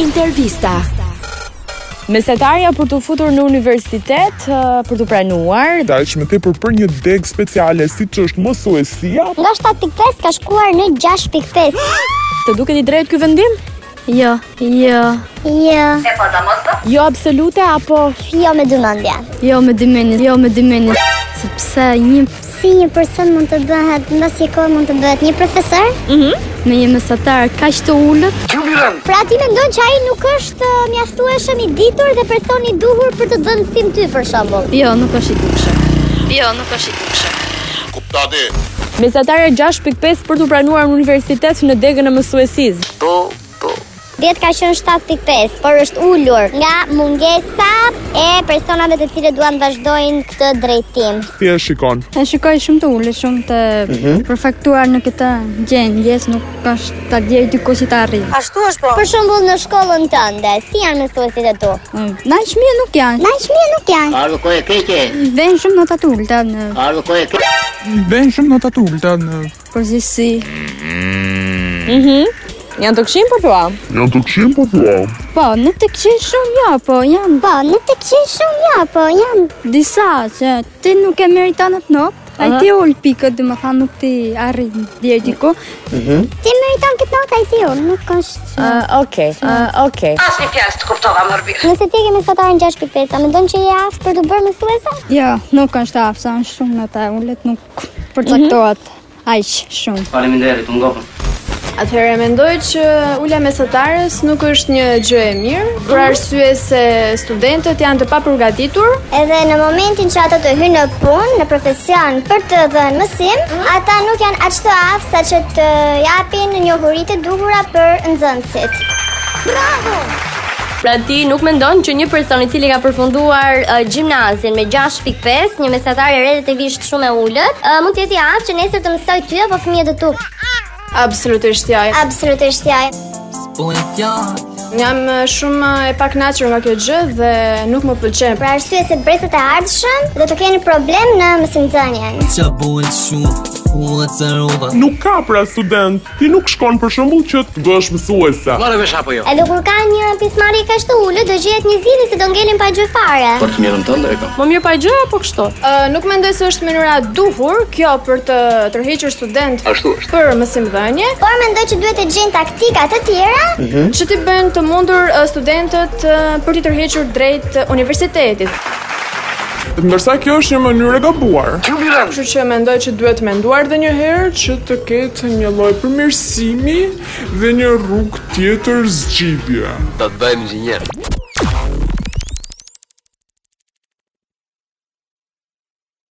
Intervista. Mesetarja për të futur në universitet, ë, për të pranuar, Ta që më tepër për një deg speciale si që është mësuesia, Nga 7.5 ka shkuar në 6.5. të duket i drejtë ky vendim? Jo, jo. Jo, Jo absolute apo jo me dëmendje. Jo me dy menit, jo me dy menit. Sepse një Si një person mund të bëhet, mbas një kohë mund të bëhet një profesor? me një mesatar kaq të ullët, Pra ti mendon që ai nuk është ë, mjaftueshëm i ditur dhe person i duhur për të dhënë sim ty për shembull. jo nuk është i dukshëm. Jo nuk është i dukshëm. Kuptate? mesetarja 6.5 për të pranuar në universitet në degën e mësuesisë. Po, po. 10 ka qenë 7.5, por është ulur nga mungesa e personave të cilët duan të vazhdojnë këtë drejtim. ti e shikon. E shikoj shumë të ullë, shumë të përfaktuar në këtë gjendje, se nuk është ta djej diku si ta arrijë. Për shembull në shkollën tënde, si janë mësuesit e tu? Na mirë nuk janë. Na mirë nuk janë. Ardhë kohë e keqe, Vënë shumë nota të ulta në ardhë kohë e keqe. Vejnë shumë nota të ulta në përgjithësi. Janë të këshim për thua? Janë të këshim po thua. Po, nuk të kishin shumë jo, po janë Po, në të kishin shumë ja, po janë disa që ti nuk e meriton atë notë. Ai ti ul pikët, domethënë nuk ti arrin deri diku. Ti meriton këtë nota i ti unë, nuk është. Uh, Okej, uh, okej. Nëse ti kemi fatarin 6.5, a mendon që je aftë për të bërë mësuese? Jo, nuk është hapsa, është shumë në të ullet, nuk përcaktohet aq shumë. Faleminderit, u ngopëm. Atëherë mendoj që ula mesatarës nuk është një gjë e mirë, për arsye se studentët janë të papërgatitur. Edhe në momentin që ata të hynë në punë, në profesion për të dhënë mësim, ata nuk janë aq të aftë sa që të japin njohuri të duhura për nxënësit. Bravo! Pra ti nuk mendon që një person i cili ka përfunduar uh, gjimnazin me 6.5, një mesatar i relativisht shumë e ulët, Ë, mund të jeti aftë që nesër të mësoj ty apo fëmijët e tu. Absolutisht ja. Absolutisht ja. Jam eh, shumë e pakënaqur nga kjo gjë dhe nuk më pëlqen. Për arsye se brezat e ardhshëm do të keni problem në mësimdhënien. Nuk ka pra student, ti nuk shkon për shembull që të bësh mësuese. Morë vesh apo jo? Edhe kur ka një pismari kaq të ulët, do gjehet një zili se do ngelin pa gjë fare. Për të mirën tënde e kam. më mirë pa gjë apo kështu? Ë, nuk mendoj se është mënyra e duhur kjo për të tërhequr student Ashtu është. për mësimdhënie, Por mendoj që duhet të gjejnë taktika të tjera që t'i bëjnë të mundur eh, studentët eh, për t'i tërhequr drejt eh, universitetit. Ndërsa kjo është një mënyrë e gabuar. Kështu që mendoj që duhet menduar dhe një herë që Që të ketë një lloj përmirësimi dhe një rrugë tjetër zgjidhje. Do të bëhem inxhinier.